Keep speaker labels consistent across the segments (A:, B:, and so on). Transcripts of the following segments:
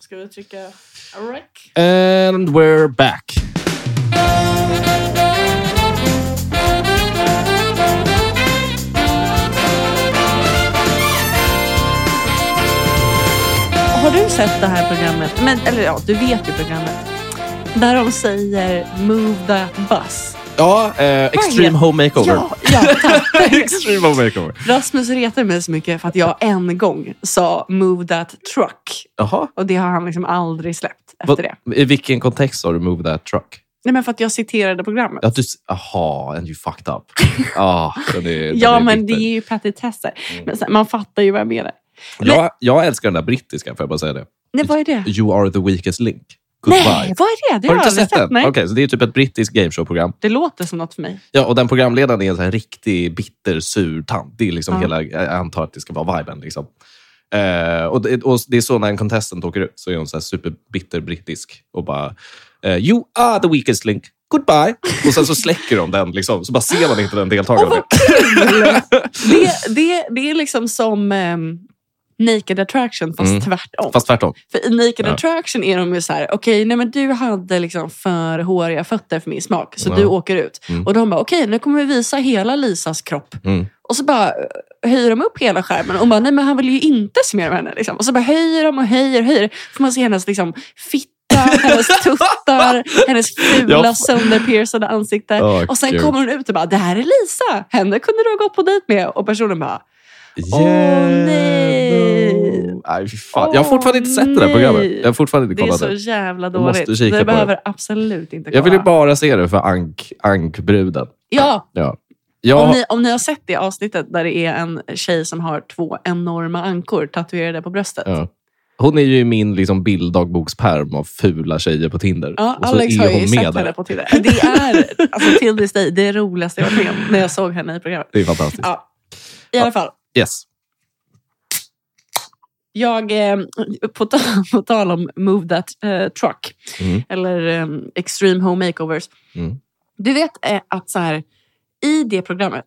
A: Ska vi trycka rec?
B: And we're back.
C: Har du sett det här programmet? Men, eller ja, du vet ju programmet. Där de säger move that bus.
B: Ja, eh, Extreme
C: heter-
B: Home Makeover.
C: Ja, ja tack.
B: Extreme Home Makeover.
C: Rasmus retar mig så mycket för att jag en gång sa move that truck.
B: Jaha.
C: Och det har han liksom aldrig släppt efter
B: Vad-
C: det.
B: I vilken kontext sa du move that truck?
C: Nej, men för att jag citerade programmet.
B: Att du... s- Aha, and you fucked up. Ah, den är, den
C: Ja,
B: är
C: men det
B: bitter.
C: är ju petitesser.
B: Mm.
C: Men sen, man fattar ju vad jag menar.
B: Jag, jag älskar den där brittiska, får jag bara säga det.
C: Nej, vad är det?
B: You are the weakest link. Goodbye.
C: Nej, vad är det? Det
B: har
C: har jag
B: du inte
C: aldrig
B: sett den?
C: Nej.
B: Okej, så det är typ ett brittiskt gameshow-program.
C: Det låter som något för mig.
B: Ja, och den programledaren är en sån här riktig bitter, sur tant. Det är liksom
C: Ja.
B: hela, jag antar att det ska vara viben. Liksom. Eh, och, det, och det är så när en contestant åker ut, så är hon så här superbitter brittisk och bara eh, “You are the weakest link, goodbye”. Och sen så släcker de den, liksom, så bara ser man inte den deltagaren.
C: Åh, vad Det, det, det är liksom som ehm, Naked Attraction, fast
B: Mm.
C: tvärtom.
B: Fast tvärtom.
C: För i Naked
B: Ja.
C: Attraction är de ju så här, okej, nej men du hade liksom för håriga fötter för min smak, så
B: Ja.
C: du åker ut.
B: Mm.
C: Och de bara, okej, nu kommer vi visa hela Lisas kropp.
B: Mm.
C: Och så bara eh, höjer de upp hela skärmen och bara, nej men han vill ju inte se mer av henne. Liksom. Och så bara höjer de och höjer och höjer. Får man se hennes liksom, fitta, hennes tuttar, hennes fula
B: Ja.
C: sönderpiercade ansikte.
B: Åh,
C: Eh, och sen
B: gud.
C: kommer hon ut och bara, det här är Lisa. Henne kunde du ha gått på dejt med. Och personen bara, Åh, nej.
B: nej fy fan. Jag har
C: Åh,
B: fortfarande inte sett det där programmet.
C: nej.
B: Jag har fortfarande inte
C: det är
B: kollat
C: så
B: det.
C: jävla
B: Jag måste
C: dåligt.
B: kika på
C: Det
B: det.
C: behöver absolut inte
B: Jag vill ju
C: kolla.
B: bara se det för ank, ankbruden.
C: Ja,
B: Ja. Jag,
C: om ni, om ni har sett det avsnittet där det är en tjej som har två enorma ankor tatuerade på bröstet.
B: Ja. Alltså. Hon är ju i min liksom, bilddagboksperm av fula tjejer på Tinder.
C: Ja,
B: och så
C: Alex
B: är
C: har
B: hon
C: ju
B: med
C: sett
B: där.
C: henne på Tinder. Det är, alltså till this day, det roligaste jag varit med om när jag såg henne i programmet.
B: Det är fantastiskt.
C: Ja. I alla fall,
B: Yes.
C: jag, eh, på, tal, på tal om Move That eh, Truck,
B: Mm.
C: eller eh, Extreme Home Makeovers.
B: Mm.
C: Du vet eh, att så här, i det programmet,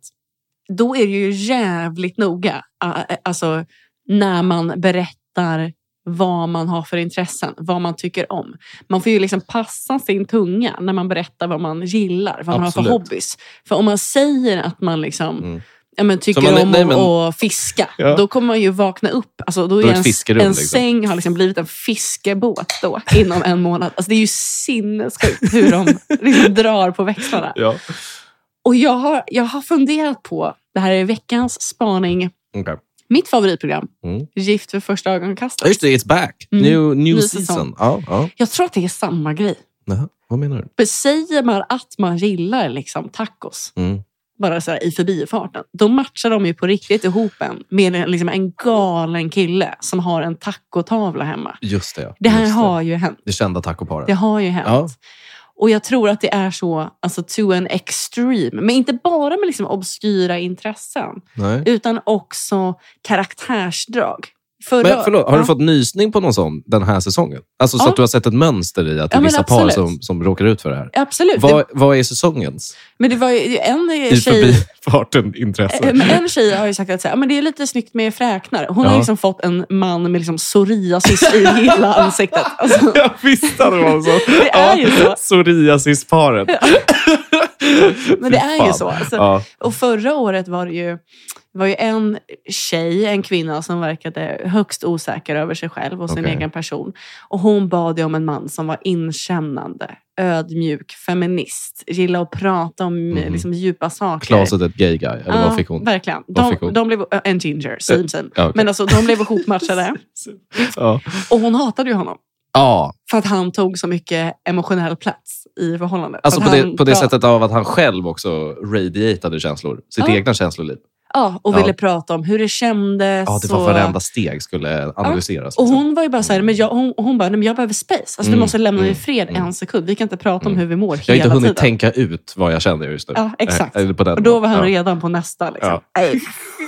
C: då är det ju jävligt noga. a- a- Alltså när man berättar vad man har för intressen, vad man tycker om. Man får ju liksom passa sin tunga när man berättar vad man gillar, vad man har
B: Absolut.
C: för hobbys. För om man säger att man liksom,
B: Mm.
C: ja, men, tycker
B: man-
C: om
B: nej,
C: att-
B: men-
C: att fiska,
B: Ja.
C: då kommer man ju vakna upp. Alltså, då
B: är
C: är
B: ett
C: en,
B: fiskerum,
C: en
B: liksom.
C: säng har liksom blivit en fiskebåt då, inom en månad. Alltså, det är ju sinnessjukt hur de liksom drar på växlarna.
B: Ja.
C: Och jag har, jag har funderat på, det här är veckans spaning,
B: Okay.
C: mitt favoritprogram,
B: Mm.
C: Gift för första
B: Ja,
C: ögonkastet.
B: Just det, it's back.
C: Mm.
B: New, new
C: Ny
B: season.
C: säsong.
B: Ja, ja.
C: Jag tror att det är samma grej.
B: Jaha, Vad menar du?
C: För säger man att man gillar liksom tacos,
B: Mm.
C: bara så här i förbifarten, då matchar de ju på riktigt ihop en med en, liksom en galen kille som har en tacotavla hemma.
B: Just det. ja.
C: Det här
B: Just
C: har ju hänt.
B: det kända tacoparet.
C: Det har ju hänt.
B: Ja.
C: Och jag tror att det är så, alltså to an extreme. Men inte bara med liksom obskyra intressen,
B: Nej.
C: utan också karaktärsdrag. Förra-
B: Men förlåt, har
C: Ja.
B: du fått nysning på någon sån den här säsongen? Alltså så
C: Ja.
B: att du har sett ett mönster i att det
C: Ja,
B: är
C: men
B: vissa par
C: absolut.
B: som, som råkar ut för det här.
C: Absolut.
B: Vad, vad är säsongens?
C: Men det var ju en
B: I
C: tjej...
B: förbifarten
C: Eh,
B: intresse.
C: Men en tjej har ju sagt att så här, "Ja, men det är lite snyggt med fräknar. Hon
B: Ja.
C: har liksom fått en man med liksom psoriasis i hela ansiktet. Alltså,
B: Jag visste att det var så.
C: Det är ju så.
B: Psoriasis-paret.
C: men det
B: Fy
C: är ju
B: fan.
C: så. Alltså,
B: Ja.
C: Och förra året var det ju, var ju en tjej, en kvinna som verkade högst osäker över sig själv och sin
B: Okej.
C: egen person. Och hon bad ju om en man som var inkännande, ödmjuk, feminist, gillade att prata om
B: Mhm.
C: liksom, djupa saker.
B: Klaset ett gay guy, eller
C: Ja,
B: vad fick hon?
C: Verkligen.
B: Vad
C: De,
B: fick hon?
C: de blev, äh, en ginger, same same.
B: Ja, okej.
C: Men alltså, de blev ihopmatchade
B: ja.
C: och hon hatade ju honom.
B: ja,
C: För att han tog så mycket emotionell plats i förhållandet.
B: alltså
C: För
B: på
C: att han
B: det, på det
C: pra-
B: sättet av att han själv också radiatade känslor. Sitt
C: Ja.
B: egna känsloliv.
C: Ja, och
B: Ja.
C: ville prata om hur det kändes.
B: Ja, det var
C: och-
B: varenda steg skulle analyseras.
C: Och
B: liksom.
C: hon var ju bara så här, men jag, hon, hon bara, nej, men jag behöver space. Alltså,
B: Mm,
C: Du måste lämna mig
B: mm,
C: i fred
B: mm.
C: en sekund. Vi kan inte prata om
B: Mm.
C: hur vi mår
B: jag har
C: hela
B: inte hunnit
C: tiden.
B: tänka ut vad jag känner just nu.
C: Ja, exakt.
B: Eh, eller på den
C: Och då var han
B: ja.
C: redan på nästa. Liksom. Nej,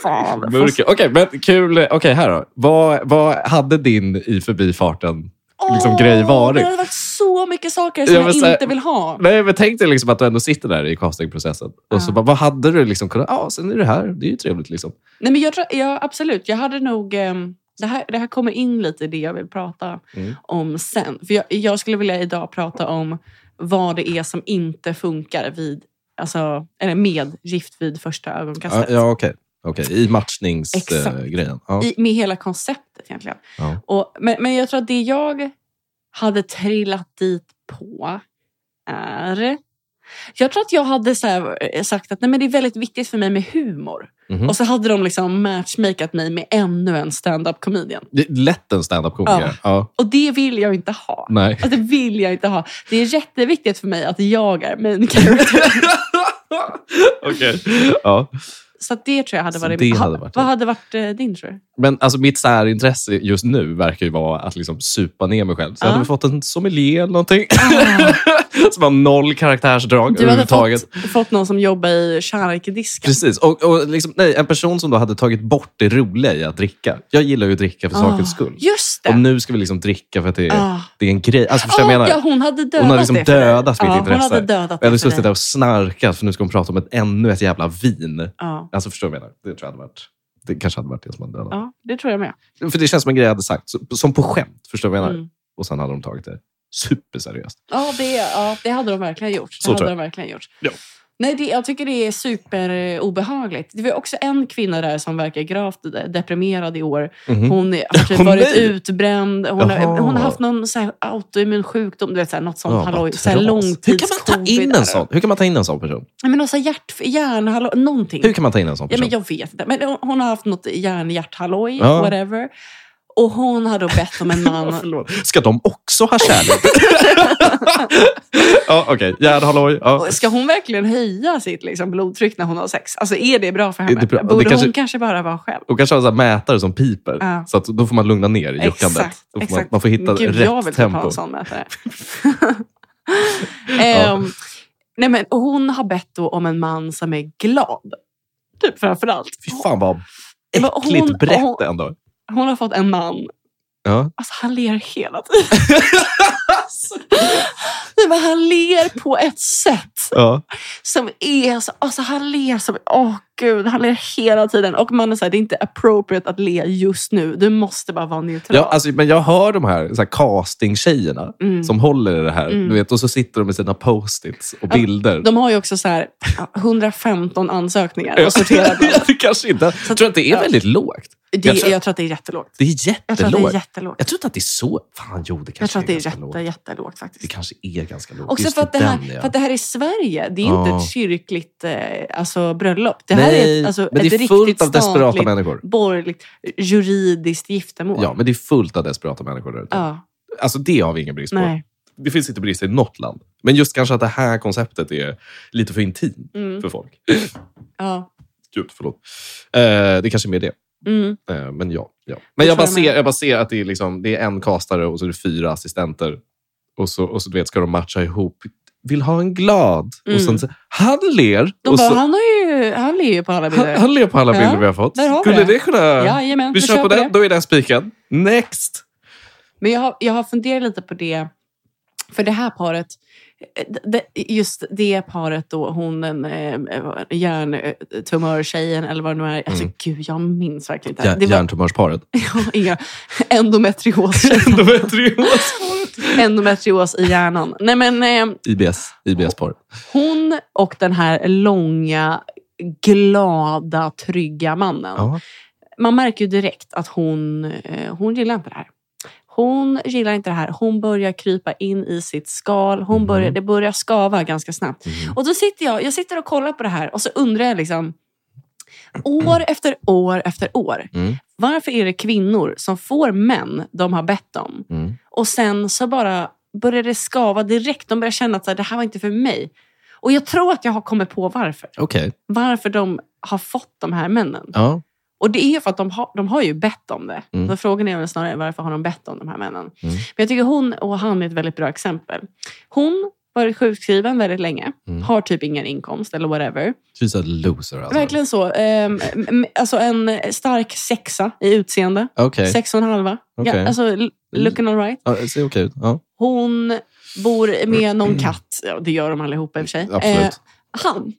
C: fan. Fast,
B: Mörker. Okej, men kul. Okej, här då. Vad, vad hade din i förbifarten? liksom,
C: Åh,
B: grej varit.
C: Det har varit så mycket saker som
B: Ja,
C: jag,
B: men så här-
C: inte vill ha.
B: Nej, men tänk dig liksom att du ändå sitter där i castingprocessen. Och så
C: Ja.
B: bara, vad hade du liksom kunnat... Ja, sen är det här. Det är ju trevligt. liksom.
C: Nej, men jag tror, ja, absolut. Jag hade nog... ehm, Det här, det här kommer in lite i det jag vill prata
B: Mm.
C: om sen. För jag, jag skulle vilja idag prata om vad det är som inte funkar vid, alltså, eller med gift vid första
B: Ja,
C: ögonkastet.
B: ja okej. Okej, I matchningsgrejen.
C: Exakt.
B: Eh, grejen. ja.
C: I, med hela konceptet egentligen.
B: Ja.
C: Och, men, men jag tror att det jag hade trillat dit på är... Jag tror att jag hade så här, eh, sagt att nej, men det är väldigt viktigt för mig med humor.
B: Mhm.
C: Och så hade de liksom matchmakat mig med ännu en stand-up comedian.
B: Det är lätt en standup-komiker. Ja.
C: Och det vill jag inte ha.
B: Nej.
C: Alltså, det vill jag inte ha. Det är jätteviktigt för mig att jag är main character.
B: Okej. Ja.
C: Så att det tror jag hade
B: Så
C: varit...
B: det
C: ha-
B: hade varit-
C: vad hade varit eh, din tror du?
B: Men alltså mitt särintresse just nu verkar ju vara att liksom supa ner mig själv. Så jag
C: Ja.
B: hade väl fått en sommelier eller någonting. som har noll karaktärsdrag
C: Du hade
B: överhuvudtaget.
C: fått, fått någon som jobbar i charkdisken.
B: Precis. Och, och liksom, nej, en person som då hade tagit bort det roliga i att dricka. Jag gillar ju att dricka för
C: Ah,
B: sakens skull.
C: Just det!
B: Och nu ska vi liksom dricka för att det är,
C: Ah.
B: det är en grej. Alltså, förstår du vad jag
C: Ah,
B: menar?
C: ja, hon hade dödat
B: Hon har liksom
C: det för dig.
B: dödat mitt
C: ja,
B: intresse.
C: Hon hade dödat
B: Jag
C: det
B: hade
C: för
B: suttit där
C: dig.
B: och snarkat för nu ska hon prata om ett, ännu ett jävla vin.
C: Ja.
B: Alltså förstår du vad jag menar? Det tror jag hade varit... Det kanske hade varit det som hade dödat.
C: ja, det tror jag med.
B: För det känns som en grej jag hade sagt, så- som på skämt. Förstår du vad jag menar?
C: Mm.
B: Och sen hade de tagit det superseriöst.
C: Ja, det, ja, det hade de verkligen gjort. Det
B: Så tror
C: hade
B: jag.
C: de verkligen gjort.
B: Ja.
C: Nej, det, jag tycker det är superobehagligt. Det var också en kvinna där som verkar gravt de- deprimerad i år.
B: Mhm.
C: Hon är- har typ
B: Åh,
C: varit
B: nej!
C: utbränd. Hon har,
B: Jaha.
C: hon har haft någon så här autoimmun sjukdom. Du vet, så här, något sånt.
B: Ja, vad
C: halloj, så här
B: tras. Hur kan
C: långtids-covid.
B: man ta in en sån? Hur kan man ta in en sån person?
C: Nej, men någon så här hjärt, hjärnhalloj, någonting.
B: Hur kan man ta in en sån
C: Ja,
B: person?
C: men jag vet inte. Men hon, hon har haft något järnhjärthalloj,
B: Ja.
C: whatever. Och hon har då bett om en
B: Ja,
C: man.
B: förlåt. Ska de också ha kärlek? ja, okej. Järnhalloj. Ja.
C: Och Ska hon verkligen höja sitt liksom, blodtryck när hon har sex? Alltså är det bra för henne?
B: Är det bra?
C: Borde
B: Det kanske-
C: hon kanske bara vara själv?
B: Och kanske ha en sån här mätare som piper.
C: Ja.
B: Så att då får man lugna ner juckandet.
C: Exakt,
B: Då får man,
C: exakt.
B: man får hitta
C: Gud, jag vill typ
B: rätt
C: ha
B: tempo.
C: en sån mätare.
B: Ja.
C: Ehm, nej, men, och hon har bett då om en man som är glad. Typ framför allt.
B: Fy fan vad
C: Men hon-
B: äckligt brett
C: hon-
B: ändå.
C: Hon har fått en man.
B: Ja.
C: Alltså han ler hela tiden. Nej, men han ler på ett sätt
B: Ja.
C: som är så, alltså han ler som, åh gud, han ler hela tiden. Och man är så här, det är inte appropriate att le just nu. Du måste bara vara neutral.
B: Ja, alltså, men jag hör de här, så här casting-tjejerna
C: Mm.
B: som håller i det här.
C: Mm.
B: Du vet, och så sitter de med sina post-its och
C: Ja,
B: bilder.
C: De har ju också så här, 115 ansökningar
B: Ja.
C: och sorterar bland.
B: det kanske inte. Jag tror att det är
C: ja.
B: väldigt lågt.
C: det,
B: Jag tror-
C: Jag tror att det är jättelågt.
B: Det är
C: Jag tror att det är
B: jättelågt.
C: jättelågt.
B: Jag tror inte att det är så... Fan, jo, det kanske
C: Jag tror att det är
B: ganska lågt.
C: jätte, jättelågt
B: Det
C: faktiskt.
B: kanske är ganska lågt.
C: Också
B: Just
C: för att, det här,
B: den, ja.
C: för att det här är Sverige. Det är
B: Ja.
C: inte ett kyrkligt eh, alltså, bröllop. Det här är ett, alltså, ett
B: men det är
C: riktigt
B: fullt av desperata
C: statligt,
B: människor.
C: borgerligt, juridiskt giftermål.
B: Ja, men det är fullt av desperata människor där ute.
C: Ja,
B: Alltså det har vi ingen brist på.
C: nej.
B: Det finns inte brist i något land. Men just kanske att det här konceptet är lite för intimt
C: Mm,
B: för folk.
C: ja.
B: Gud, förlåt. Eh, det kanske är mer det.
C: Mm.
B: Eh, men ja. ja.
C: Det
B: Men jag bara,
C: tror jag
B: ser,
C: med.
B: jag bara ser att det är, liksom, det är en kastare och så är det fyra assistenter. Och så, och så du vet, ska de matcha ihop. Vill ha en glad.
C: Mm.
B: Och sen, så- han ler.
C: De
B: och
C: bara,
B: så,
C: han, har ju, han ler ju på alla
B: han,
C: bilder.
B: han ler på alla
C: Ja,
B: bilder vi har fått.
C: där har vi
B: Skulle
C: det.
B: det kunna...
C: Jajamän,
B: vi, kör på den.
C: det.
B: Då är den spiken. Next!
C: Men jag har, jag har funderat lite på det. För det här paret, eh, det- just det paret då, hon den eh, hjärntumörtjejen eller vad det nu är. Alltså
B: Mm.
C: gud, jag minns verkligen inte.
B: Ja,
C: det var
B: Hjärntumörsparet.
C: inga endometrios,
B: De är trios.
C: endometrios i hjärnan. Nej men eh,
B: IBS. IBS-paret.
C: hon och den här långa, glada, trygga mannen.
B: Ja.
C: man märker ju direkt att hon, eh, hon gillar inte det här. Hon gillar inte det här. Hon börjar krypa in i sitt skal. Hon
B: Mhm.
C: börjar, det börjar skava ganska snabbt.
B: Mhm.
C: Och då sitter jag, jag sitter och kollar på det här och så undrar jag liksom år efter år efter år.
B: Mm.
C: Varför är det kvinnor som får män de har bett om
B: Mm.
C: och sen så bara börjar det skava direkt. De börjar känna att så här, det här var inte för mig. Och jag tror att jag har kommit på varför.
B: Okej.
C: Varför de har fått de här männen.
B: Ja.
C: Och det är ju för att de har, de har ju bett om det.
B: Mm.
C: Så frågan är väl snarare varför har de bett om de här männen?
B: Mm.
C: Men jag tycker hon och han är ett väldigt bra exempel. Hon har varit sjukskriven väldigt länge.
B: Mm.
C: Har typ ingen inkomst eller whatever.
B: She's a loser alltså.
C: Verkligen så. Ehm, m- m- alltså en stark sexa i utseende.
B: Okej.
C: Sex och en halva.
B: Okej.
C: Ja, alltså l- looking alright.
B: Ja, det ser okej ut. Ja.
C: Hon bor med någon katt. Ja, det gör de allihopa i och för sig.
B: Mm. Absolut.
C: Eh, han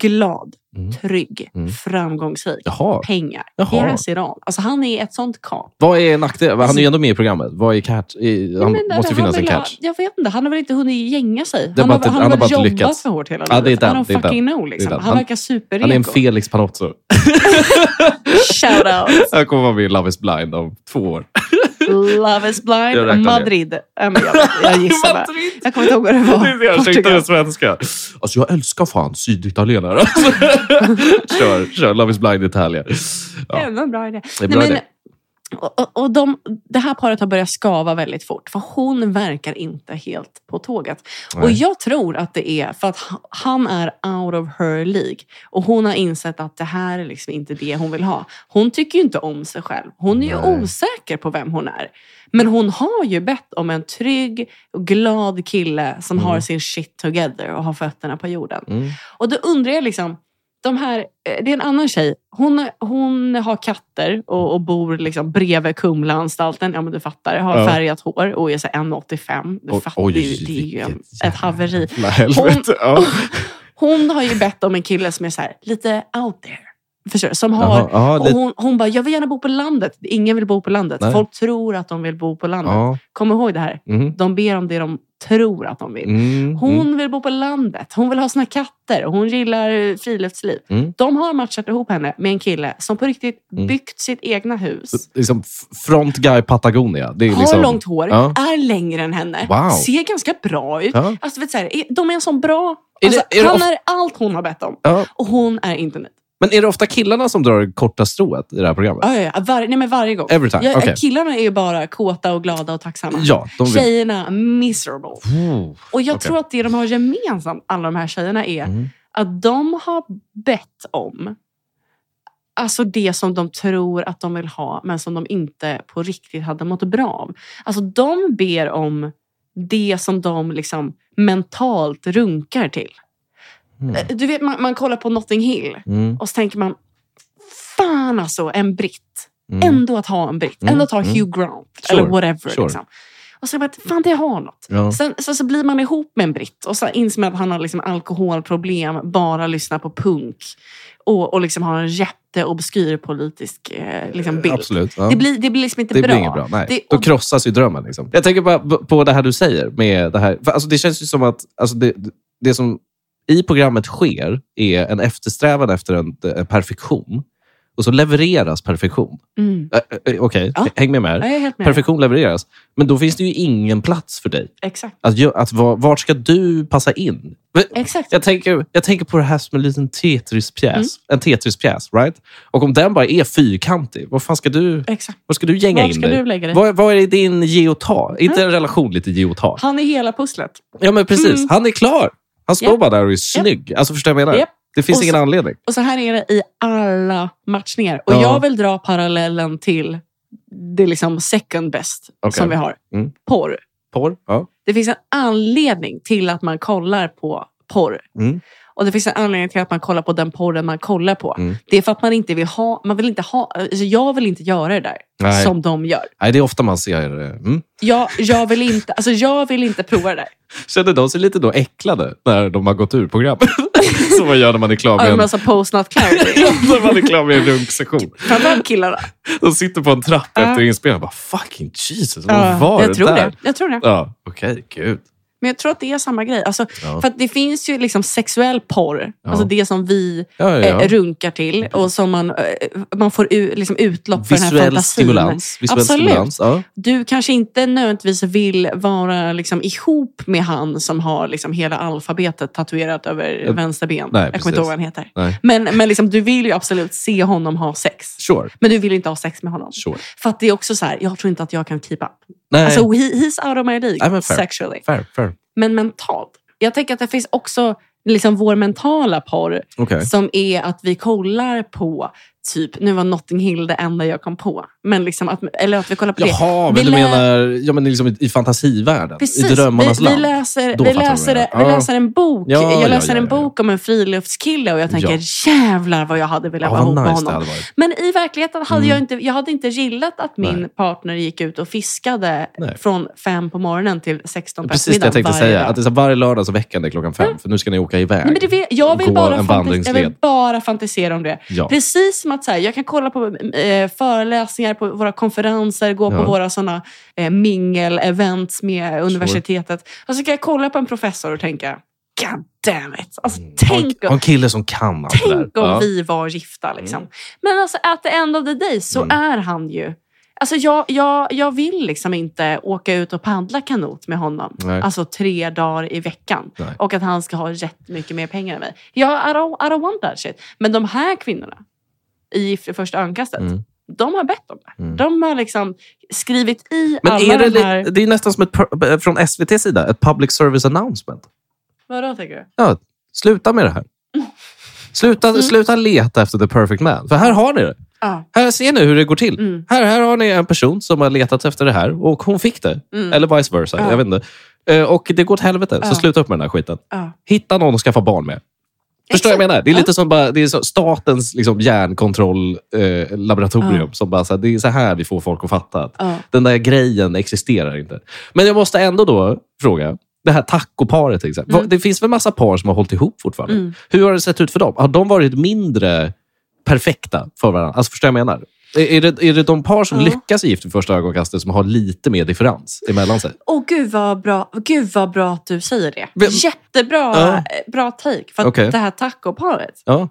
C: glad,
B: Mm.
C: trygg,
B: Mm.
C: framgångsrik,
B: Jaha.
C: pengar.
B: Jaha.
C: Yes, Iran. Alltså han är ett sånt kap.
B: Vad är nackdelen? Han är ju ändå med i programmet. Vad är catch? I, han
C: Men,
B: måste ju finnas
C: han
B: en
C: väl ha-
B: catch.
C: Jag vet inte, han har väl inte hunnit gänga sig.
B: Det är
C: Han
B: bara
C: har,
B: att det-
C: han
B: han
C: har
B: har
C: väl
B: bara
C: jobbat
B: inte lyckats.
C: för hårt hela
B: Ja, det är
C: livet.
B: den,
C: han har
B: det är
C: fucking
B: den.
C: know. Liksom.
B: Det är den.
C: Han
B: Han-
C: verkar superreko.
B: Han är en Felix Panozzo.
C: Shout out.
B: Han kommer vara med i Love is blind om två år.
C: Love is
B: Jag
C: blind,
B: räknar ner.
C: Madrid. Ja, men jag, jag gissar bara.
B: Madrid.
C: Jag kommer inte ihåg vad det
B: Alltså, Det är
C: var.
B: det jag försökte
C: Portugal.
B: med svenska. Alltså jag älskar fan syditalienare. Alltså. kör, kör Love is blind Italien.
C: Det
B: Ja,
C: var en bra idé.
B: det är bra
C: Nej, men,
B: idé.
C: och och- och de, det här paret har börjat skava väldigt fort. För hon verkar inte helt på tåget. Och
B: Nej.
C: jag tror att det är för att ha- han är out of her League. Och hon har insett att det här är liksom inte det hon vill ha. Hon tycker ju inte om sig själv. Hon är ju
B: Nej.
C: osäker på vem hon är. Men hon har ju bett om en trygg, och glad kille som
B: Mm.
C: har sin shit together och har fötterna på jorden.
B: Mm.
C: Och då undrar jag liksom, de här, eh, det är en annan tjej. Hon, hon har katter och, och bor liksom bredvid Kumlaanstalten. Ja, men du fattar. Har
B: Ja.
C: färgat hår och är så 1,85. Du
B: Oj,
C: fattar
B: oj,
C: ju. Det är ju en,
B: vilket
C: ett haveri.
B: jävla helvete. Ja.
C: Hon har ju bett om en kille som är så här, lite out there. Förstår du? Som har...
B: Jaha, ja,
C: Och
B: lite-
C: hon, hon bara, jag vill gärna bo på landet. Ingen vill bo på landet.
B: Nej.
C: Folk tror att de vill bo på landet.
B: ja.
C: Kom ihåg det här.
B: Mm.
C: De ber om det de tror att de vill.
B: Mm.
C: Hon
B: Mm.
C: vill bo på landet, hon vill ha sina katter, hon gillar eh, friluftsliv.
B: Mm.
C: De har matchat ihop henne med en kille som på riktigt
B: Mm.
C: byggt sitt egna hus.
B: Liksom f- front guy Patagonia. Det är
C: Har
B: liksom...
C: långt hår,
B: Ja.
C: är längre än henne,
B: Wow.
C: ser ganska bra ut.
B: Ja.
C: Alltså, vet, du så här, är- de är en sån bra...
B: Är
C: Alltså,
B: det- är det
C: han
B: of-
C: är allt hon har bett om
B: Ja.
C: och hon är inte nöjd.
B: Men är det ofta killarna som drar det korta strået i det här programmet?
C: Ja, ja, ja, var, nej, men varje gång.
B: Every time.
C: Ja,
B: Okej.
C: Killarna är ju bara kåta och glada och tacksamma.
B: Ja, de vill...
C: Tjejerna, miserable.
B: Oh.
C: Och jag
B: Okej.
C: tror att det de har gemensamt, alla de här tjejerna, är
B: Mm.
C: att de har bett om Alltså det som de tror att de vill ha, men som de inte på riktigt hade mått bra av. Alltså de ber om det som de liksom mentalt runkar till.
B: Mm.
C: Eh, Du vet, man, man kollar på Notting Hill
B: Mm.
C: och så tänker man, fan alltså, en britt.
B: Mm.
C: Ändå att ha en britt.
B: Mm,
C: Ändå att ha
B: mm.
C: Hugh Grant
B: Sure,
C: eller whatever.
B: sure.
C: Liksom. Och så är man, fan det har något.
B: Ja.
C: Sen så, så blir man ihop med en britt och så inser man att han har liksom alkoholproblem, bara lyssnar på punk och, och liksom har en jätteobskyr politisk eh, liksom bild.
B: Absolut. Ja.
C: Det, blir, det blir liksom inte
B: Det
C: bra.
B: blir inget bra. Nej.
C: Det-
B: Då
C: och-
B: krossas ju drömmen. Liksom. Jag tänker bara på det här du säger. Med det, här. För alltså, det känns ju som att alltså, det, det som i programmet sker är en eftersträvan efter en, en perfektion. Och så levereras perfektion.
C: Mm.
B: Ä- ä- ä, Okej,
C: Ja.
B: häng med mig
C: Ja,
B: här.
C: Jag är helt med.
B: Perfektion levereras. Men då finns det ju ingen plats för dig.
C: Exakt.
B: Att, gö- att, var, vart ska du passa in? Men-
C: Exakt.
B: jag tänker, jag tänker på det här som en liten Tetris-pjäs.
C: Mm.
B: En Tetris-pjäs, right? Och om den bara är fyrkantig, vad fan ska du,
C: Exakt.
B: vad ska du gänga
C: Var
B: in
C: ska
B: dig?
C: du lägga dig?
B: Vad, vad är din ge och ta? Är inte en relation lite ge och ta?
C: Han är hela pusslet.
B: Ja, men precis.
C: Mm.
B: Han är klar. Han står
C: Japp.
B: bara där och är snygg. Alltså, förstår du vad jag menar?
C: Japp.
B: Det finns
C: Och
B: ingen
C: så-
B: anledning.
C: Och så här är det i alla matchningar. Och
B: Ja.
C: jag vill dra parallellen till det liksom second best
B: Okej.
C: som vi har.
B: Mm.
C: Porr.
B: Porr? Ja.
C: Det finns en anledning till att man kollar på porr.
B: Mm.
C: Och det finns en anledning till att man kollar på den porren man kollar på.
B: Mm.
C: Det är för att man inte vill ha... Man vill inte ha alltså jag vill inte göra det där
B: Nej.
C: som de gör.
B: Nej, det är ofta man ser... eh, Mm.
C: Jag, jag, vill inte, alltså jag vill inte prova det där.
B: Känner de sig lite då äcklade när de har gått ur programmet? som man gör när man är klar med
C: Men...
B: en,
C: Alltså post not clarity.
B: när man är klar med en runksession.
C: Framförallt killarna.
B: De sitter på en trapp
C: Ja.
B: efter inspelningen. Bara, Fucking Jesus,
C: Ja,
B: vad var
C: jag, tror
B: där?
C: det. jag tror det.
B: Ja, okej, gud.
C: Men jag tror att det är samma grej. Alltså,
B: Ja.
C: För att det finns ju liksom sexuell porr.
B: Ja.
C: Alltså det som vi
B: Ja, ja,
C: eh,
B: ja.
C: runkar till och som man, eh, man får u- liksom utlopp för den här
B: Visuell
C: fantasin.
B: stimulans. Visuell
C: Absolut.
B: stimulans. Ja.
C: du kanske inte nödvändigtvis vill vara liksom ihop med han som har liksom hela alfabetet tatuerat över
B: Ja.
C: vänster ben.
B: Eh, Nej,
C: jag
B: precis.
C: kommer inte ihåg vad han heter.
B: Nej.
C: Men, men liksom, du vill ju absolut se honom ha sex.
B: Sure,
C: Men du vill inte ha sex med honom.
B: sure.
C: För att det är också så här, jag tror inte att jag kan keep up.
B: Nej,
C: Alltså, he, he's out of my league
B: Nej, men fair.
C: sexually.
B: fair, fair.
C: Men mentalt. Jag tänker att det finns också liksom vår mentala porr
B: Okej.
C: som är att vi kollar på Typ, nu var Notting Hill det enda jag kom på. Men liksom att, eller att vi kollar på det.
B: Jaha,
C: Vi
B: men du
C: lä-
B: menar ja, men liksom i, i fantasivärlden? I drömmarnas
C: vi, vi
B: land?
C: läser,
B: Då
C: vi
B: fattar jag
C: läser,
B: vad jag
C: vi
B: menar. Ja.
C: läser en bok.
B: Ja, ja,
C: jag läser
B: ja,
C: en
B: ja, ja.
C: bok om en friluftskille och jag tänker
B: Ja.
C: jävlar vad jag hade velat vara
B: ja,
C: ihop
B: vad
C: med
B: nice det
C: honom.
B: hade varit.
C: Men i verkligheten hade
B: Mm.
C: jag, inte, jag hade inte gillat att min
B: Nej.
C: partner gick ut och fiskade
B: Nej.
C: från fem på morgonen till 16 på
B: Precis det jag
C: eftermiddagen
B: tänkte
C: varje
B: säga.
C: dag.
B: Att det är så här, varje lördag så väcker det klockan fem, för nu ska ni åka iväg.
C: Nej, men det vet, jag, vill
B: Gå
C: bara
B: en
C: fantis- jag vill
B: vandringsled.
C: bara fantisera om det.
B: ja.
C: Precis som att så här, jag kan kolla på eh, föreläsningar på våra konferenser, gå på
B: Ja.
C: våra såna eh, mingel-events med universitetet. Och så kan jag kolla på en professor och tänka, God damn it! Alltså,
B: Mm. Ha en-
C: tänk
B: ha
C: om,
B: en kille som kan allt det där.
C: tänk om
B: Ja.
C: vi var gifta. Liksom. Men alltså, at the end of the day så
B: Mm.
C: är han ju... Alltså, jag, jag, jag vill liksom inte åka ut och paddla kanot med honom.
B: Nej.
C: Alltså tre dagar i veckan.
B: Nej.
C: Och att han ska ha jättemycket mer pengar än mig. Jag I don't, I don't want that shit. Men de här kvinnorna i Gift i första ögonkastet,
B: Mm.
C: de har bett om det.
B: Mm.
C: De har liksom skrivit i
B: Men
C: alla
B: är det,
C: de här...
B: li- det är nästan som ett, pu- från SVTs sida, ett public service announcement.
C: Vadå tänker du?
B: Ja, sluta med det här. Sluta,
C: Mm.
B: sluta leta efter the perfect man. För här har ni det.
C: Ja.
B: Här ser ni hur det går till.
C: Mm.
B: Här, här har ni en person som har letat efter det här och hon fick det.
C: Mm.
B: Eller vice versa.
C: Ja.
B: Jag vet inte. Eh, Och det går åt helvete.
C: Ja.
B: Så sluta upp med den här skiten.
C: Ja.
B: Hitta någon att skaffa barn med. Förstår jag vad jag menar? Det är lite som bara, det är så, statens liksom, hjärnkontroll-laboratorium. Eh, laboratorium som bara, så här, det är så här vi får folk att fatta att
C: Ja.
B: den där grejen existerar inte. Men jag måste ändå då fråga, det här tacoparet till exempel.
C: Mm.
B: Vad- Det finns väl massa par som har hållit ihop fortfarande?
C: Mm.
B: Hur har det sett ut för dem? Har de varit mindre perfekta för varandra? Alltså, förstår jag vad jag menar? Är- Är det, är det de par som
C: Ja.
B: lyckas i Gift vid första ögonkastet som har lite mer differens emellan sig?
C: Åh, gud, vad bra, gud vad bra att du säger det.
B: Vem-
C: Jättebra
B: Ja.
C: eh, bra take. För att
B: Okej.
C: det här tacoparet,
B: Ja,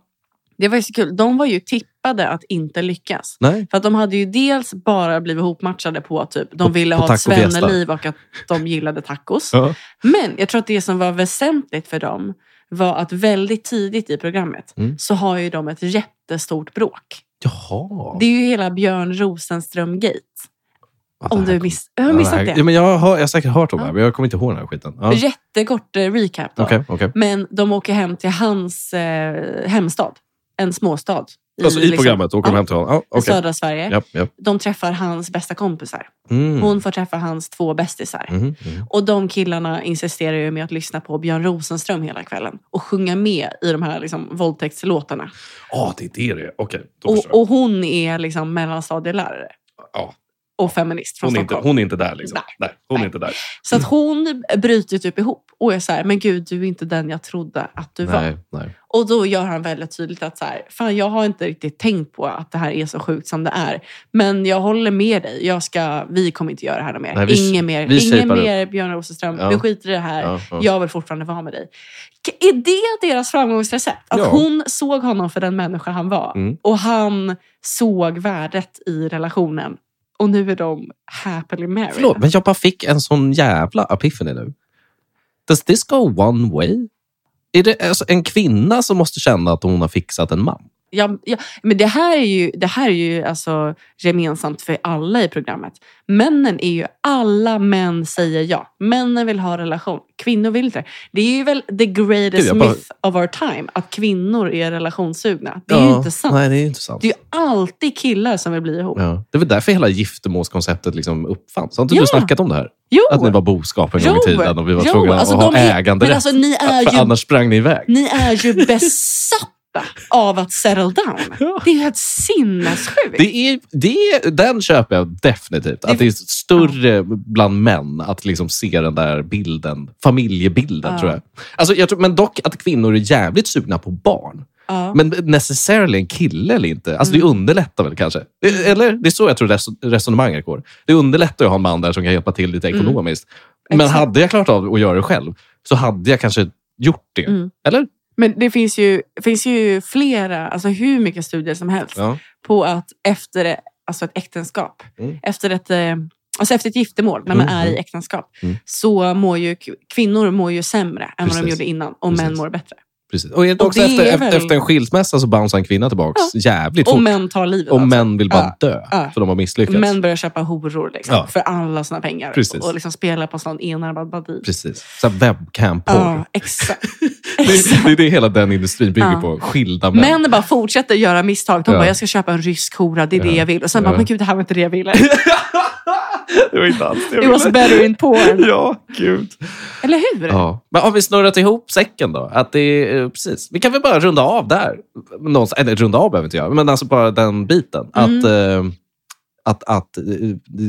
C: det var ju så kul. De var ju tippade att inte lyckas.
B: nej.
C: För att de hade ju dels bara blivit hopmatchade på typ, de
B: På-
C: ville
B: på
C: ha ett
B: tacofiesta.
C: svenneliv och att de gillade tacos.
B: Ja.
C: Men jag tror att det som var väsentligt för dem var att väldigt tidigt i programmet
B: Mm.
C: så har ju de ett jättestort bråk.
B: Jaha.
C: Det är ju hela Björn Rosenström-gate.
B: Ja, det
C: Om
B: här
C: du
B: kom-
C: miss- jag har missat
B: Ja,
C: det.
B: men jag, har, jag har säkert hört om det här,
C: Ja.
B: men jag kommer inte ihåg den här skiten. Ja.
C: Jättekort eh, recap då.
B: Okej, okej.
C: Men de åker hem till hans eh, hemstad. En småstad.
B: Alltså i
C: liksom,
B: programmet åker de
C: ja,
B: hem till honom? Ja,
C: i
B: okej.
C: södra Sverige.
B: Japp, japp.
C: De träffar hans bästa kompisar.
B: Mm.
C: Hon får träffa hans två bästisar.
B: Mm, mm.
C: Och de killarna insisterar ju med att lyssna på Björn Rosenström hela kvällen och sjunga med i de här liksom, våldtäktslåtarna.
B: Ah, det är det det är. Okej, då
C: Och,
B: förstår jag.
C: och hon är liksom mellanstadielärare
B: Ja,
C: och feminist från
B: hon, är inte,
C: Stockholm.
B: hon är inte där liksom.
C: Nej.
B: Nej, hon
C: Nej.
B: är inte där.
C: Så att hon bryter typ ihop och är så här, men gud, du är inte den jag trodde att du var.
B: Nej, nej.
C: Och då gör han väldigt tydligt att så här, fan jag har inte riktigt tänkt på att det här är så sjukt som det är. Men jag håller med dig. Jag ska, vi kommer inte göra det här mer.
B: Nej, vi-
C: ingen mer,
B: vi
C: ingen
B: shapar upp.
C: mer Björn Rosenström.
B: Ja.
C: Vi skiter i det här.
B: Ja, ja.
C: Jag vill fortfarande vara med dig. K- Är det deras framgångsrecept? Att
B: Ja.
C: hon såg honom för den människa han var.
B: Mm.
C: Och han såg värdet i relationen. Och nu är de happily married.
B: Förlåt, men jag bara fick en sån jävla epiphany nu. Does this go one way? Är det alltså en kvinna som måste känna att hon har fixat en man?
C: Ja, ja, men det här är ju, det här är ju alltså gemensamt för alla i programmet. Männen är ju... Alla män säger ja. Männen vill ha relation. Kvinnor vill inte det. Det är ju väl the greatest
B: Gud, jag bara-
C: myth of our time. Att kvinnor är relationssugna. Det är ju
B: Ja,
C: inte sant.
B: Nej, det är ju inte sant.
C: Det är ju alltid killar som vill bli ihop.
B: Ja. Det var därför hela giftermålskonceptet liksom uppfanns. Har inte
C: Ja.
B: du snackat om det här?
C: Jo!
B: Att ni var boskap en gång
C: Jo,
B: i tiden och vi var
C: jo,
B: tvungna
C: alltså
B: att ha
C: de är-
B: äganderätt.
C: Men alltså ni är
B: för
C: ju,
B: annars sprang ni iväg.
C: ni är ju besatta av att settle down. Det är ju helt sinnessjukt.
B: Det är, det är, den köper jag definitivt. Att det är större bland män att liksom se den där bilden, familjebilden.
C: Ja.
B: tror jag. Alltså, jag tror, men dock att kvinnor är jävligt sugna på barn.
C: Ja.
B: Men necessarily en kille eller inte. Alltså,
C: Mm.
B: Det underlättar väl kanske? Eller? Det är så jag tror res- resonemanget går. Det underlättar att ha en man där som kan hjälpa till lite ekonomiskt. Men
C: Mm. Exakt.
B: hade jag klarat av att göra det själv så hade jag kanske gjort det.
C: Mm.
B: Eller?
C: Men det finns ju, finns ju flera, alltså hur mycket studier som helst
B: Ja.
C: på att efter alltså ett äktenskap,
B: Mm.
C: efter, ett, eh, alltså efter ett giftermål, när man
B: Mm,
C: är i
B: mm.
C: äktenskap,
B: Mm.
C: så mår ju kvinnor mår ju sämre än vad de
B: Precis.
C: gjorde innan och män
B: Precis.
C: mår bättre.
B: Precis. Och är det
C: Och
B: också
C: det
B: efter,
C: är
B: efter-
C: väl-
B: efter en skilsmässa så bouncear en kvinna tillbaka jävligt
C: Och
B: fort.
C: män tar livet
B: Och män vill bara dö,
C: Alltså, Ja.
B: för de har misslyckats.
C: Män börjar köpa horor liksom,
B: Ja.
C: för alla sina pengar.
B: Precis.
C: Och liksom spela på sån enarmad bandit.
B: Precis. Så här webcam-porr.
C: Ja, exakt.
B: Det, det är det hela den industrin bygger
C: Ja.
B: på. Skilda män.
C: Män bara fortsätter göra misstag. De
B: Ja.
C: bara, jag ska köpa en rysk hora, det är
B: Ja.
C: det jag vill. Och sen
B: Ja.
C: bara, men gud, det här var inte det jag ville.
B: det var inte alls det
C: It was better in porn.
B: Ja, gud.
C: Eller hur?
B: Ja. Men har vi snurrat ihop säcken då? Att det är, eh, precis. Vi kan väl bara runda av där. Någonstans- eller runda av behöver inte jag, men alltså bara den biten.
C: Mm.
B: Att, eh, att, att eh,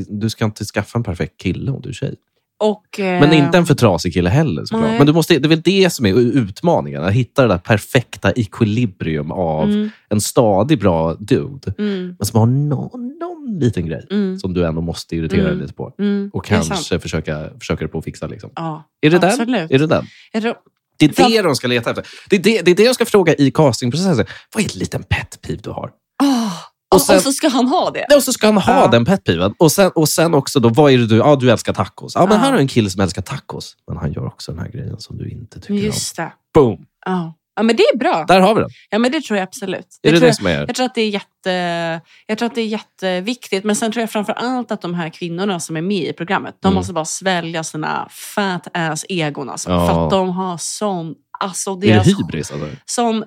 B: du ska inte skaffa en perfekt kille om du är tjej.
C: Och, eh,
B: Men inte en för trasig kille heller såklart.
C: nej.
B: Men du måste, det är väl det som är utmaningen. Att hitta det där perfekta equilibrium av
C: Mm,
B: en stadig bra dude,
C: mm,
B: men som har någon, någon liten grej
C: mm,
B: som du ändå måste irritera
C: Mm.
B: dig lite på.
C: mm.
B: Och
C: Det är sant.
B: kanske försöka, försöka dig på att fixa. Liksom.
C: Ja,
B: Är det den?
C: absolut.
B: Är det den?
C: Jag tror-
B: Det är
C: Fram-
B: det de ska leta efter. Det är det, det, är det jag ska fråga i castingprocessen. Vad är en liten pet peeve du har?
C: Åh,
B: Och
C: och,
B: sen-
C: och så ska han ha det.
B: Nej, Och så ska han ha
C: Ja.
B: den pet peeven. Och sen, och sen också då, vad är det du... Ja, du älskar tacos. Ja, men
C: Ja.
B: här har en kille som älskar tacos. Men han gör också den här grejen som du inte tycker
C: Just det.
B: om. Boom!
C: Ja. ja, men det är bra.
B: Där har vi den.
C: Ja, men det tror jag absolut.
B: Är det
C: tror
B: det
C: jag,
B: som är...
C: jag, tror att det är jätte, jag tror att det är jätteviktigt. Men sen tror jag framför allt att de här kvinnorna som är med i programmet, de
B: Mm.
C: måste bara svälja sina fat ass egon. Alltså,
B: Ja.
C: För att de har sån... Alltså
B: Är det
C: deras,
B: hybris? Alltså?
C: sån,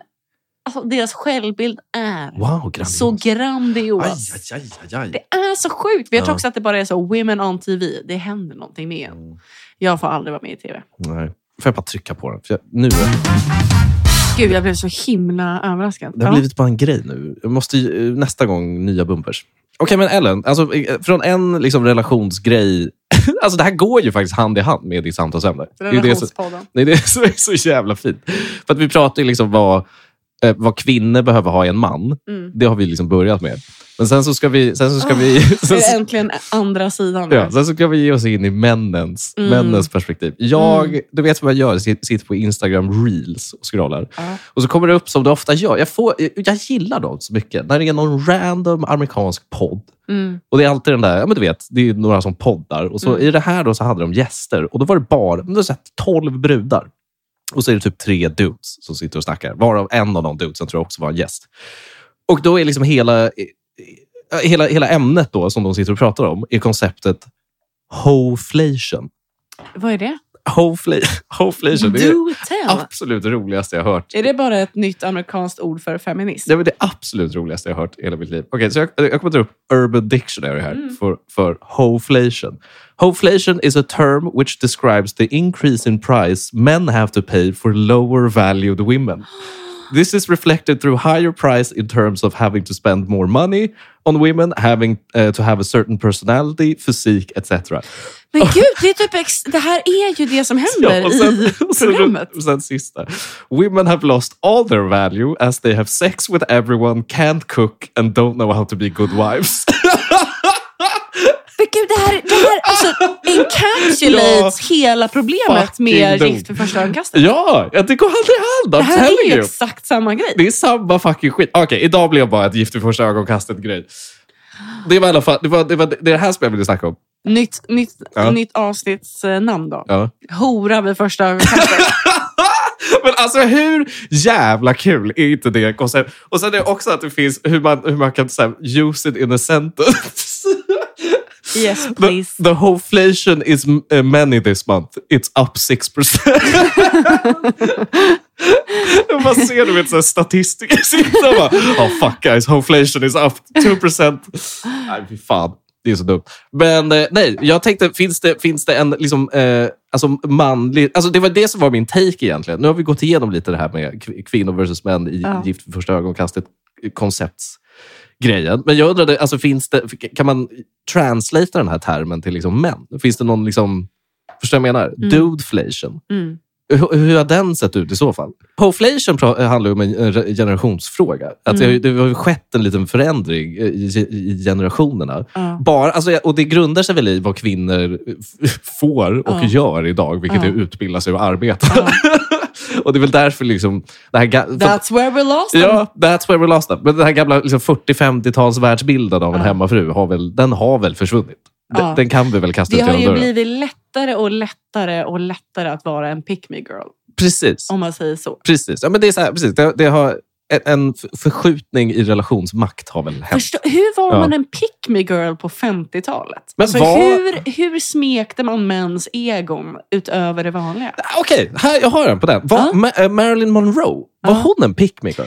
C: alltså, deras självbild är
B: Wow, grandios.
C: så grandios.
B: Aj, aj, aj, aj, aj.
C: Det är så sjukt. Men jag tror
B: Ja.
C: också att det bara är så women on TV. Det händer någonting med en.
B: Mm,
C: Jag får aldrig vara med i TV.
B: Nej. Får jag bara trycka på den? För jag, nu...
C: Gud, jag blev så himla överraskad.
B: Det har
C: Ja.
B: blivit bara en grej nu. Jag måste ju, eh, nästa gång nya bumpers. Okej, men Ellen. Alltså, eh, från en liksom, relationsgrej... alltså, det här går ju faktiskt hand i hand med ditt samtalsämne. Det är ju det som,
C: Relationspodden.
B: nej, det är så, det är så jävla fint. För att vi pratar ju liksom vad, eh, vad kvinnor behöver ha i en man.
C: Mm.
B: Det har vi liksom börjat med. Men sen så ska vi... Sen så ska vi
C: Det
B: sen så,
C: Ah. är äntligen andra sidan. nu.
B: Ja, sen så kan vi ge oss in i männens,
C: Mm.
B: männens perspektiv. Jag, Du vet vad jag gör? Sit- Sitter på Instagram reels och scrollar.
C: Ja.
B: Och så kommer det upp som det ofta gör. Jag, får, jag gillar dem så mycket. När det är någon random amerikansk podd.
C: Mm.
B: Och det är alltid den där, ja men du vet, det är ju några som poddar. Och så
C: Mm.
B: i det här då så hade de gäster. Och då var det bara, men då så här, 12 brudar. Och så är det typ tre dudes som sitter och snackar. Varav en av de dudesen tror jag också var en gäst. Och då är liksom hela, eh, eh, hela, hela ämnet då som de sitter och pratar om, är konceptet hoflation.
C: Vad är det?
B: Hofla- Hoflation, det är det
C: Do tell.
B: absolut roligaste jag har hört
C: Är det bara ett nytt amerikanskt ord för feminist?
B: Det var det absolut roligaste jag har hört i hela mitt liv. Okej, så jag, jag kommer att dra upp Urban Dictionary här
C: Mm.
B: för, för hoflation. Hoflation is a term which describes the increase in price men have to pay for lower valued women. This is reflected through higher price in terms of having to spend more money on women, having eh, to have a certain personality, physique, etc.
C: Men gud, det, är typ ex- det här är ju det som händer
B: Ja, och sen-
C: i
B: och sen-
C: programmet.
B: Och sen sista. Women have lost all their value as they have sex with everyone, can't cook and don't know how to be good wives.
C: Men gud, det här, det här alltså, encapsulates hela problemet
B: fucking
C: med
B: dog.
C: gift vid första ögonkastet.
B: ja, ja, det går hand i hand.
C: Det
B: I'm
C: här är
B: telling
C: ju
B: you.
C: exakt samma grej.
B: Det är samma fucking skit. Okej, idag blev jag bara ett gift vid första ögonkastet-grej. Det var i alla fall det, var, det, var, det är det här som jag ville snacka om.
C: Nytt, nytt,
B: Ja.
C: nytt avsnitts eh, namn då.
B: Ja.
C: Hora vid första ögonkastet.
B: Men alltså hur jävla kul är inte det konceptet? Och sen är det också att det finns hur man, hur man kan så här, use it in a sentence.
C: yes,
B: The,
C: please.
B: the hoflation is uh, many this month. It's up 6%. Man ser du vet, så här, statistiker sitta och bara, oh fuck guys, hoflation is up 2%. Nej, fy fan. Det är så dumt. Men eh, nej, jag tänkte, finns det, finns det en liksom, eh, alltså manlig... Alltså det var det som var min take egentligen. Nu har vi gått igenom lite det här med kv- kvinnor versus män i
C: Ja.
B: Gift vid första ögonkastet, koncepts grejen. Men jag undrade, alltså, finns det, kan man translata den här termen till liksom män? Finns det någon, liksom, förstår du vad jag menar?
C: Mm.
B: Dudeflation.
C: Mm.
B: Hur, hur har den sett ut i så fall? Poflation pra- handlar ju om en en re- generationsfråga.
C: Mm.
B: Att det, har ju- det har ju skett en liten förändring eh, i, ge- i generationerna.
C: Ja.
B: Bara, alltså, jag- och Det grundar sig väl i vad kvinnor f- får och
C: Ja.
B: gör idag, vilket
C: Ja.
B: är att utbilda sig och arbeta. och Det är väl därför liksom, det här ga-
C: That's where we lost them.
B: Ja, that's where we lost them. Men den här gamla liksom, 40-50-tals världsbilden av en
C: Ja.
B: hemmafru, har väl, den har väl försvunnit? Den,
C: Ja.
B: den kan vi väl kasta
C: Det
B: ut
C: har
B: genom
C: ju
B: dörren?
C: blivit lättare och lättare och lättare att vara en pick me girl.
B: Precis.
C: om man säger så.
B: Precis. Ja, men det, är så här, precis. Det, det har, en- en f- förskjutning i relationsmakt har väl hänt.
C: Förstå, hur var
B: Ja.
C: man en pick me girl på 50-talet?
B: Men
C: Alltså,
B: var-
C: hur, hur smekte man mäns egon utöver det vanliga?
B: Okej, här, jag har en på den. Var,
C: Ja.
B: Ma- eh, Marilyn Monroe, var
C: Ja.
B: hon en pickmaker?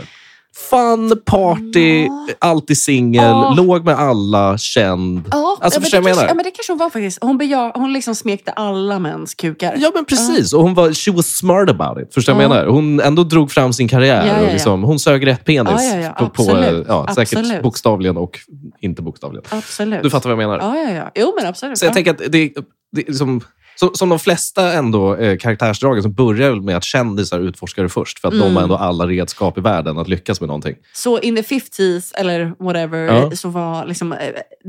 B: Fun, party,
C: Ja.
B: alltid singel,
C: Ja.
B: låg med alla, känd.
C: Ja,
B: Alltså,
C: men
B: förstår
C: det,
B: jag vad jag
C: kanske,
B: menar?
C: ja, men det kanske hon var faktiskt. Hon, beja, hon liksom smekte alla mäns kukar.
B: Ja, men precis. Och hon var, she was smart about it. Förstår du vad jag
C: Ja.
B: menar? Hon ändå drog fram sin karriär.
C: Ja, ja, ja.
B: Och liksom, hon sög rätt penis.
C: Ja, ja, ja.
B: På, på,
C: Absolut.
B: ja, säkert
C: Absolut.
B: bokstavligen och inte bokstavligen.
C: Absolut.
B: Du fattar vad jag
C: Ja,
B: menar?
C: ja, ja. Jo, men absolut.
B: Så jag
C: ja.
B: tänker att det, det är liksom, som, som de flesta ändå eh, karaktärsdragen så börjar väl med att kändisar utforskar det först. För att de
C: Mm.
B: har ändå alla redskap i världen att lyckas med någonting.
C: Så in the 50s eller whatever
B: Ja.
C: så var liksom eh,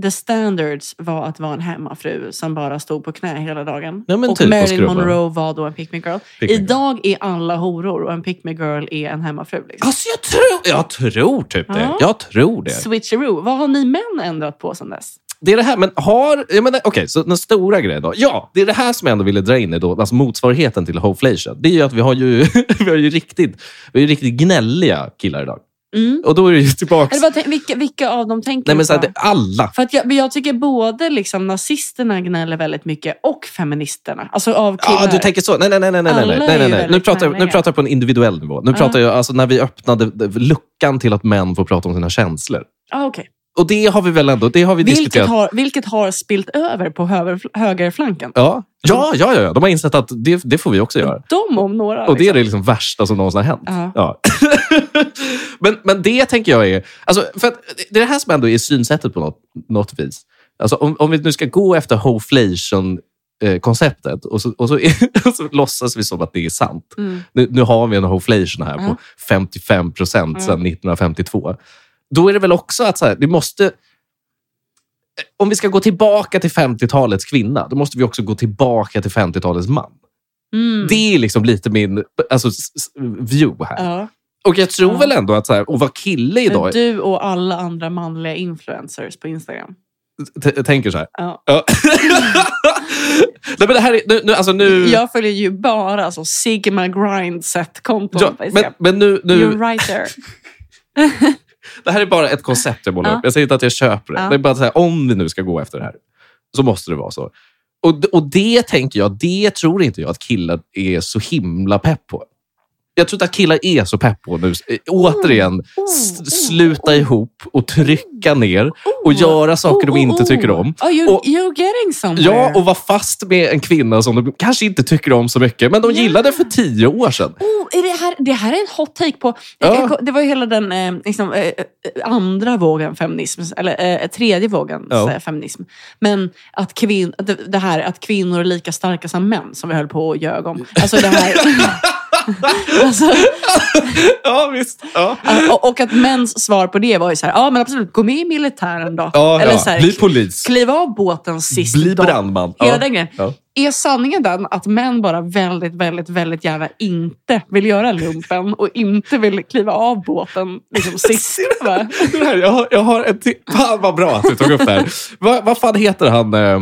C: the standards var att vara en hemmafru som bara stod på knä hela dagen.
B: Ja, men
C: och
B: typ, och
C: Marilyn
B: skrubba.
C: Monroe var då en pick me girl.
B: Pick me girl.
C: Idag är alla horor och en pick me girl är en hemmafru. Liksom.
B: Alltså jag tror, jag tror typ det.
C: Ja.
B: Jag tror det.
C: Switcheroo. Vad har ni män ändrat på sedan dess?
B: Det är det här, men har... Jag menar, okej, så den stora grejen då. Ja, det är det här som jag ändå ville dra in i då, alltså motsvarigheten till hoflation. Det är ju att vi har ju, vi har ju riktigt, vi har ju riktigt gnälliga killar idag.
C: Mm.
B: Och då är det ju tillbaka...
C: Eller vad, tänk- vilka, vilka av dem tänker
B: Nej
C: du
B: men så här,
C: på?
B: det, alla.
C: För att jag, men jag tycker både liksom nazisterna gnäller väldigt mycket och feministerna. Alltså av killar.
B: Ja, du tänker så. Nej, nej, nej. nej, nej,
C: Alla
B: nej,
C: är
B: nej, nej,
C: ju
B: nej. Nu,
C: väldigt
B: pratar jag, nu
C: härliga.
B: pratar jag på en individuell nivå. Nu
C: Ja.
B: pratar jag, alltså när vi öppnade d- luckan till att män får prata om sina känslor.
C: ah, okej.
B: Och det har vi väl ändå, det har vi
C: vilket,
B: diskuterat.
C: har, vilket har spilt över på höver, högerflanken.
B: Ja. Ja, ja, ja, ja. De har insett att det, det får vi också göra.
C: De om några.
B: Och det liksom- är
C: liksom.
B: det liksom värsta som någonsin har hänt.
C: Ja.
B: Ja. men, men det tänker jag är... Alltså, för att det är det här som ändå är synsättet på något, något vis. Alltså, om, om vi nu ska gå efter hoflation-konceptet och, så, och, så, och så låtsas vi som att det är sant.
C: Mm.
B: Nu, nu har vi en hoflation här
C: Ja.
B: på 55 procent sedan
C: Mm.
B: 1952. Då är det väl också att så här, det måste... Om vi ska gå tillbaka till 50-talets kvinna, då måste vi också gå tillbaka till 50-talets man.
C: Mm.
B: Det är liksom lite min alltså, s- s- view här.
C: Ja.
B: Och jag tror
C: Ja.
B: väl ändå att så här, och vara kille idag
C: Men du och alla andra manliga influencers på Instagram.
B: t- tänker så här.
C: Ja.
B: Ja. Nej, men det här är, nu, nu, alltså nu,
C: Jag följer ju bara alltså, Sigma Grindset-konton
B: Ja,
C: på
B: men,
C: Instagram.
B: men nu, nu,
C: You're right there.
B: det här är bara ett koncept jag målar
C: Ja.
B: upp. Jag säger inte att jag köper det.
C: Ja.
B: Det är bara så här, om vi nu ska gå efter det här, så måste det vara så. Och, d- och det tänker jag, det tror inte jag att killar är så himla pepp på. Jag tror inte att killar är så pepp på nu. Eh, Återigen, s-
C: oh,
B: sluta ihop och trycka ner och göra saker de inte tycker om.
C: Oh, you,
B: Och-
C: you're getting somewhere.
B: Ja, och vara fast med en kvinna som de kanske inte tycker om så mycket, men de
C: Ja.
B: gillade för tio år sedan.
C: Oh, är det, här, det här är en hot take på...
B: Ja.
C: jag- Det var ju hela den eh, liksom, eh, eh, andra vågen feminism, eller eh, tredje vågens
B: Ja.
C: eh, feminism. Men att, kvin, det, det här att kvinnor är lika starka som män, som vi höll på och ljög om. Alltså det här... alltså,
B: Ja, visst. Ja.
C: och, och att mäns svar på det var ju så här, ja men absolut, gå med i militären då.
B: Ja,
C: eller
B: ja.
C: så här,
B: Bli polis.
C: kliva av båten sist
B: Bli
C: då.
B: brandman.
C: Hela
B: Ja.
C: den grejen.
B: Ja.
C: Är sanningen den att män bara väldigt, väldigt, väldigt gärna inte vill göra lumpen och inte vill kliva av båten liksom sist? Va?
B: Det här, jag, har, jag har en till. Fan vad bra att du tog upp det här. Vad vad fan heter han, eh,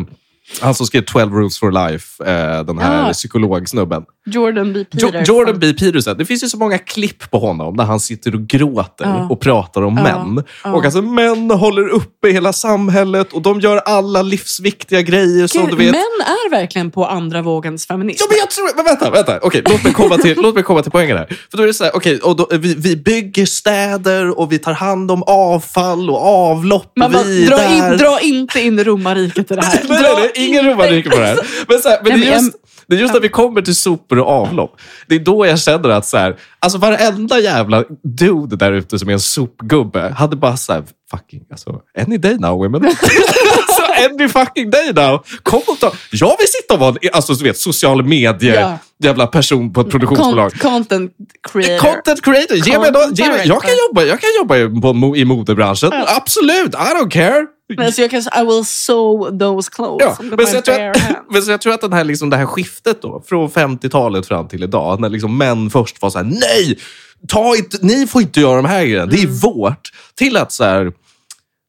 B: han som skrev 12 rules for life, eh, den här
C: Ja.
B: psykologsnubben?
C: Jordan B.
B: Jo,
C: Peterson.
B: Jordan B. Peterson. Det finns ju så många klipp på honom där han sitter och gråter
C: Ja.
B: och pratar om
C: Ja.
B: män.
C: Ja.
B: Och alltså män håller uppe hela samhället och de gör alla livsviktiga grejer som du
C: Gud,
B: vet.
C: Män är verkligen på andra vågens feminism.
B: Ja, men jag tror... Men vänta, vänta. Okej, låt, mig komma till, låt mig komma till poängen här. För då är det så här, okej, och då, vi, vi bygger städer och vi tar hand om avfall och avlopp. och
C: Man bara,
B: vi är
C: dra,
B: där.
C: in, dra inte in romarriket i det här.
B: Nej,
C: Dra
B: nej, nej, ingen
C: inte-
B: romarrike på det här. Men, så här, men
C: Nej,
B: det är
C: men
B: just, det är just när vi kommer till sopor och avlopp. Det är då jag känner att så här, alltså varenda jävla dude där ute som är en sopgubbe hade bara så här, fucking, alltså, any day now women. alltså, any fucking day now. Kom och ta. Jag vill sitta och vara en, alltså, du vet, social medier,
C: Ja.
B: jävla person på ett produktionsbolag.
C: Con- Content creator.
B: Content creator. Ge mig
C: Content
B: då, ge mig, jag, kan
C: director.
B: jobba, jag kan jobba i- på, mo- i modebranschen. Absolut, I don't care.
C: Men alltså jag kan säga, I will sew those clothes
B: Ja,
C: with
B: men
C: my
B: så, jag tror
C: bare hands.
B: att, men så jag tror att den här, liksom, det här skiftet då, från 50-talet fram till idag, när liksom män först var så här, nej, ta inte, ni får inte göra de här grejerna, det är
C: Mm.
B: vårt. Till att så här,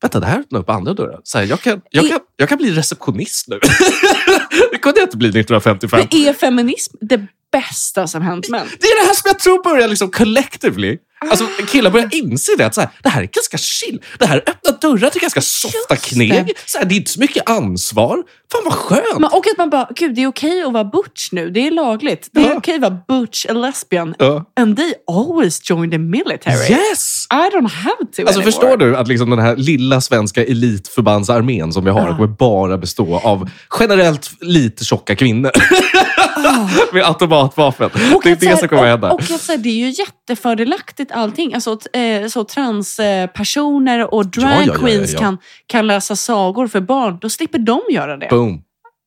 B: vänta, det här öppnar upp andra dörrar. Så här, jag, kan, jag,
C: I-
B: kan, jag kan bli receptionist nu. det kunde jag inte bli 1955.
C: Men är feminism det bästa som hänt män.
B: Det är det här som jag tror börjar liksom collectively.
C: Ah.
B: Alltså, killar börjar inse det. Att så här, det här är ganska chill. Det här öppnar dörrar till ganska softa
C: Just
B: kneg. Så här, det är inte så mycket ansvar. Fan vad skönt!
C: Men, och att man bara, gud det är okej att vara butch nu. Det är lagligt. Det är
B: Ja.
C: okej att vara butch and lesbian.
B: Ja.
C: And they always join the military.
B: Yes!
C: I don't have to
B: Alltså,
C: anymore.
B: förstår du att liksom den här lilla svenska elitförbandsarmén som vi har
C: Ja.
B: kommer bara bestå av generellt lite tjocka kvinnor med automatvapen. det är
C: att så
B: det
C: här-
B: som kommer
C: Ah. och,
B: hända.
C: Och att så här, det är ju jättefördelaktigt allting. Alltså, t- eh, så transpersoner och drag
B: Ja, ja, ja, ja,
C: queens
B: ja.
C: Kan, kan läsa sagor för barn. Då slipper de göra det.
B: Boom.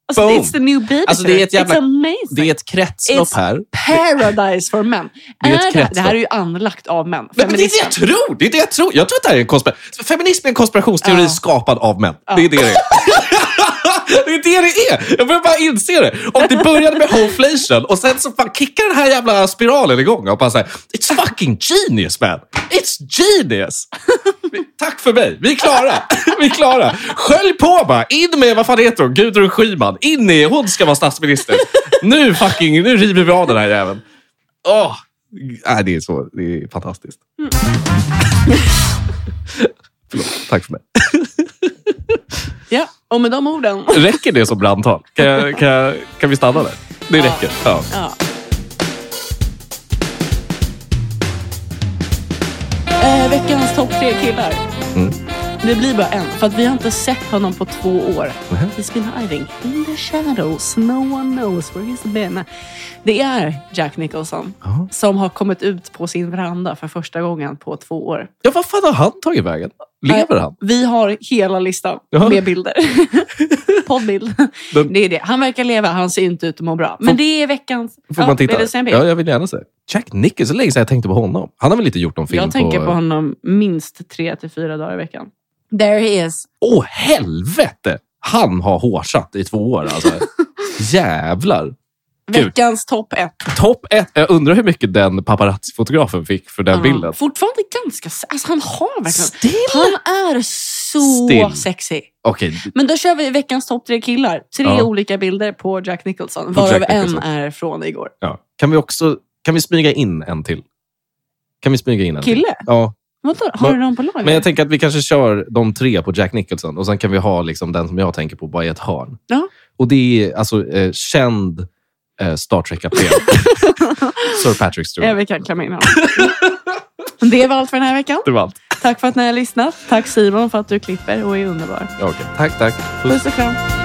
C: Alltså,
B: boom.
C: it's the new baby.
B: Alltså, det är ett jävla-
C: It's amazing.
B: Det är ett kretslopp
C: It's-
B: här.
C: Paradise for men.
B: Det är ett
C: Är det, det här
B: kretslopp.
C: är ju anlagt av män.
B: Nej, men det är det
C: Feminism.
B: jag tror! Det är det jag tror. Jag tror att det här är en konspira- Feminism är en konspirationsteori
C: Ja.
B: skapad av män. Det är det det är. Det är det det är! Jag börjar bara inse det. Och det började med hoflation och sen så fan kickar den här jävla spiralen igång. Och bara så här, It's fucking genius man! It's genius! Tack för mig, vi är klara. Vi är klara. Skölj på bara! In med, vad fan heter hon, Gudrun Schyman. In i, hon ska vara statsminister. Nu fucking, nu river vi av den här jäveln. Åh! Nej, det är så, det är fantastiskt. Förlåt, tack för mig.
C: Ja, och med de orden.
B: Räcker det som brandtal? Kan, jag, kan, jag, kan vi stanna där? Det räcker. Ja.
C: Ja. Eh, veckans topp tre killar.
B: Mm.
C: Det blir bara en, för att vi har inte sett honom på två år.
B: Mhm.
C: He's been hiding in the shadows. No one knows where he's been. Det är Jack Nicholson
B: Ja.
C: som har kommit ut på sin veranda för första gången på två år.
B: ja, vad fan har han tagit vägen? Lever han?
C: Vi har hela listan
B: Jaha.
C: med bilder. Poddbild.
B: Men-
C: Det är det. Han verkar leva, han ser inte ut att må bra. Men
B: Får-
C: det är veckans...
B: Får man titta?
C: Vill du se en bild?
B: ja, jag vill gärna se. Jack Nicholson, så länge sedan jag tänkte på honom. Han har väl inte gjort någon film
C: Jag tänker på
B: på...
C: honom minst tre till fyra dagar i veckan. There he is.
B: Åh, helvete! Han har hårsatt i två år alltså. Jävlar. Gud.
C: Veckans topp ett.
B: Topp ett. Jag undrar hur mycket den paparazzi-fotografen fick för den
C: Ja.
B: bilden.
C: Fortfarande ganska... se- Alltså han har verkligen...
B: Still?
C: Han är så
B: Still.
C: sexig.
B: Okej,
C: Men då kör vi veckans topp tre killar. Tre
B: Ja.
C: olika bilder på Jack Nicholson.
B: På Jack
C: Varav en
B: Nicholson.
C: är från igår.
B: ja. kan vi också... Kan vi smyga in en till? Kan vi smyga in en till?
C: Kille?
B: Ja,
C: Vadå? Har
B: Men-
C: du någon på lager?
B: Men jag tänker att vi kanske kör de tre på Jack Nicholson och sen kan vi ha liksom den som jag tänker på bara i ett hörn.
C: Ja.
B: Och det är alltså eh, känd eh, Star Trek-kapten. Sir Patrick
C: Ja,
B: Stewart.
C: vi kan klämma in honom. Det var allt för den här veckan.
B: Det var allt.
C: Tack för att ni har lyssnat. Tack Simon för att du klipper och är underbar.
B: Ja, okej. Tack, tack. Puss.
C: Puss och kram.